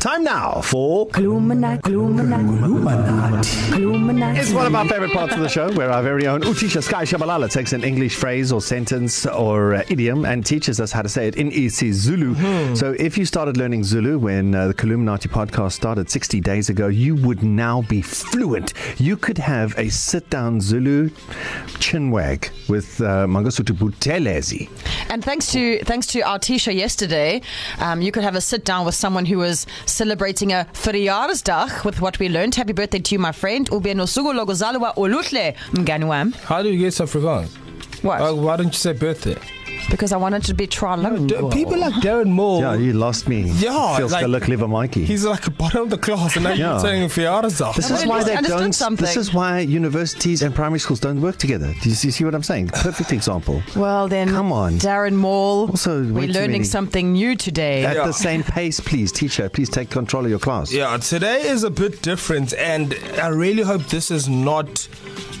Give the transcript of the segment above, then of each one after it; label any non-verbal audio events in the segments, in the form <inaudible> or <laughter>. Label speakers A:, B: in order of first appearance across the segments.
A: Time now for
B: Glumina, Glumina,
A: It's
B: Glumina.
A: one of our favorite parts of the show where our very own Utisha Sky Shabalala takes an English phrase or sentence or uh, idiom and teaches us how to say it in EC Zulu.
C: Hmm.
A: Mm-hmm. So if you started learning Zulu when uh, the Kaluminati podcast started 60 days ago, you would now be fluent. You could have a sit down Zulu chinwag with uh, Mangosuthu Buthelezi.
D: And thanks to thanks to our Tisha yesterday, um, you could have a sit down with someone who was celebrating a verjaarsdag with what we learned. Happy birthday to you, my friend. Ube nosuku lokuzalwa oluhle mngani wami.
C: How do you get Afrikaans?
D: What?
C: Uh,
D: Oh.
C: why don't you say birthday?
D: Because I wanted to be trilingual.
C: D- people like Darren Moore.
A: Yeah, you lost me.
C: Oh. Yeah,
A: Feels like, like liver Mikey.
C: He's like bottom of the class, and now
A: Yeah.
C: you're saying
A: This
C: Fiara's
D: Well,
A: is
D: at
A: why
D: least
A: they
D: understood
A: don't. Something.
D: something.
A: This is why universities and primary schools don't work together. Do you see, see what I'm saying? Perfect example.
D: Well then,
A: Come on.
D: Darren Maul.
A: Also, way
D: we're
A: too
D: learning
A: many-
D: something new today.
A: At
D: Yeah.
C: Yeah.
A: the same pace, please, teacher. Please take control of your class.
C: Yeah, today is a bit different, and I really hope this is not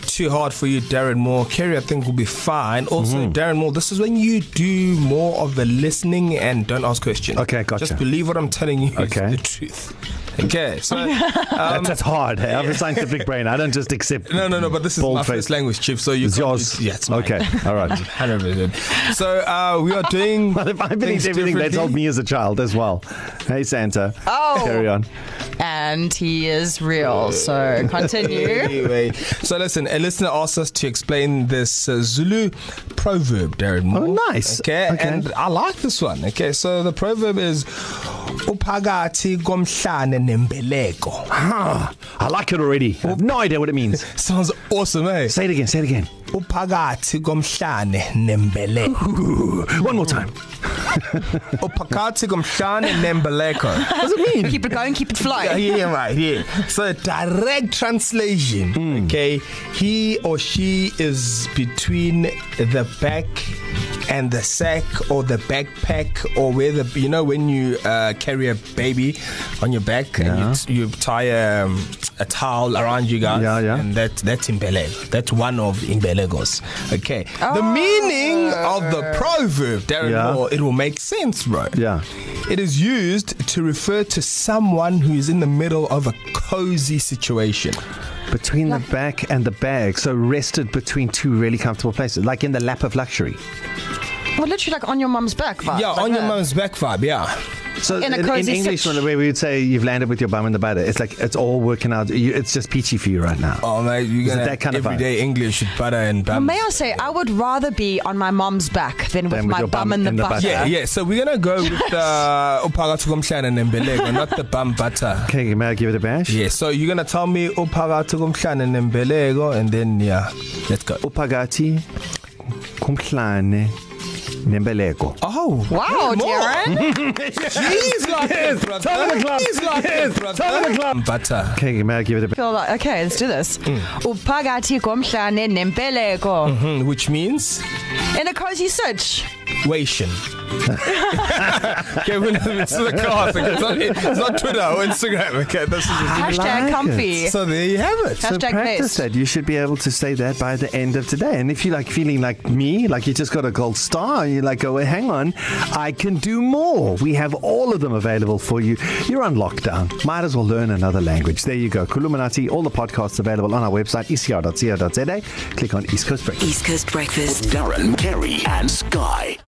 C: too hard for you, Darren Moore. Kerry, I think, will be fine. Also, mm-hmm. Darren Moore, this is when you do more of the listening and don't ask questions.
A: Okay, gotcha.
C: Just believe what I'm telling you okay.
A: Okay.
C: is the truth. Okay, so. Um,
A: That's, that's hard. Hey? I have a scientific brain. I don't just accept.
C: no, no, no, but this is my
A: Bold
C: first
A: face.
C: language, Chief, so you
A: It's
C: can't-
A: yours.
C: Yeah, it's mine.
A: okay. All
C: <laughs>
A: right. <laughs>
C: 100%. So, uh, we are doing.
A: Well, if I believed
C: things
A: everything they
C: differently.
A: told me as a child as well. Hey, Santa.
D: Oh.
A: Carry on.
D: And he is real. So continue.
C: anyway, so listen, a listener asked us to explain this uh, Zulu proverb, Darren. Moore.
A: Oh, nice.
C: Okay,
A: Okay.
C: okay, and I like this one. Okay, so the proverb is uphakathi komhlane nembeleko.
A: Ah, I like it already. I have no idea what it means.
C: Sounds awesome, eh?
A: Say it again. Say it again.
C: Uphakathi komhlane
A: <laughs>
C: nembeleko.
A: Ooh, one more time.
C: Uphakathi komhlane nembeleko.
A: What does it mean?
D: <laughs> keep it going. Keep it
C: Yeah,
D: flying.
C: yeah, right, yeah. So direct translation. Mm. Okay, he or she is between the back and the sack or the backpack or where the you know when you uh, carry a baby on your back yeah. and you, you tie a, a towel around you guys.
A: Yeah, yeah.
C: And that that's imbelego. That's one of imbelegos. Okay. Oh. The meaning of the proverb, Darren
A: Yeah.
C: yeah. Moore, it will make sense, bro.
A: Yeah.
C: It is used to refer to someone who is in the middle of a cozy situation.
A: Between the back and the bag, so rested between two really comfortable places, like in the lap of luxury.
D: Well, literally like on your mum's back. Vibes,
C: Yeah,
D: like
C: on your
D: that.
C: mum's back vibe, yeah.
A: So in,
D: In a
A: in, in
D: cozy
A: English,
D: sit-
A: when we would say you've landed with your bum in the butter, it's like it's all working out. You, it's just peachy for you right now.
C: Oh, mate, you're
A: Is it
C: going
A: that
C: to
A: kind of vibe?
C: everyday English with butter and
D: Well,
C: bam.
D: may I say, I would rather be on my mom's back than with
A: Than with
D: my
A: your
D: bum in the butt.
C: Yeah, yeah, so we're going to go with uh, uphakathi komhlane nembeleko, not the bum butter.
A: Okay, may I give it a bash?
C: Yeah, so you're going to tell me uphakathi komhlane nembeleko, and then, yeah, let's go.
A: Upagati, kumhlane, nembeleko.
C: Oh,
D: Wow,
C: <laughs>
D: Darren.
C: He's like yes, it, brother.
A: Top of the club.
C: He's like yes, it, brother.
A: top of the
C: club. Butter.
A: Okay, may I give it a bash?
D: Feel like, okay, let's do this. Uphakathi komhlane nempeleko
C: Mm, which means
D: in a cozy sitch.
C: Wation. okay, we're not, it's the class. Okay, it's, not, it's not Twitter or Instagram. Okay, this is
A: I
D: Hashtag
A: like
D: like comfy.
C: so there you have it.
A: So
D: Hashtag
A: practice
D: best.
A: that. You should be able to say that by the end of today. And if you like feeling like me, like you just got a gold star, you're like, oh, well, hang on, I can do more. We have all of them available for you. You're on lockdown. Might as well learn another language. There you go. Kuluminati, all the podcasts available on our website, E ecr.co.za. Click on East Coast Break.
E: East Coast Breakfast.
F: Darren, Kerry, and Sky.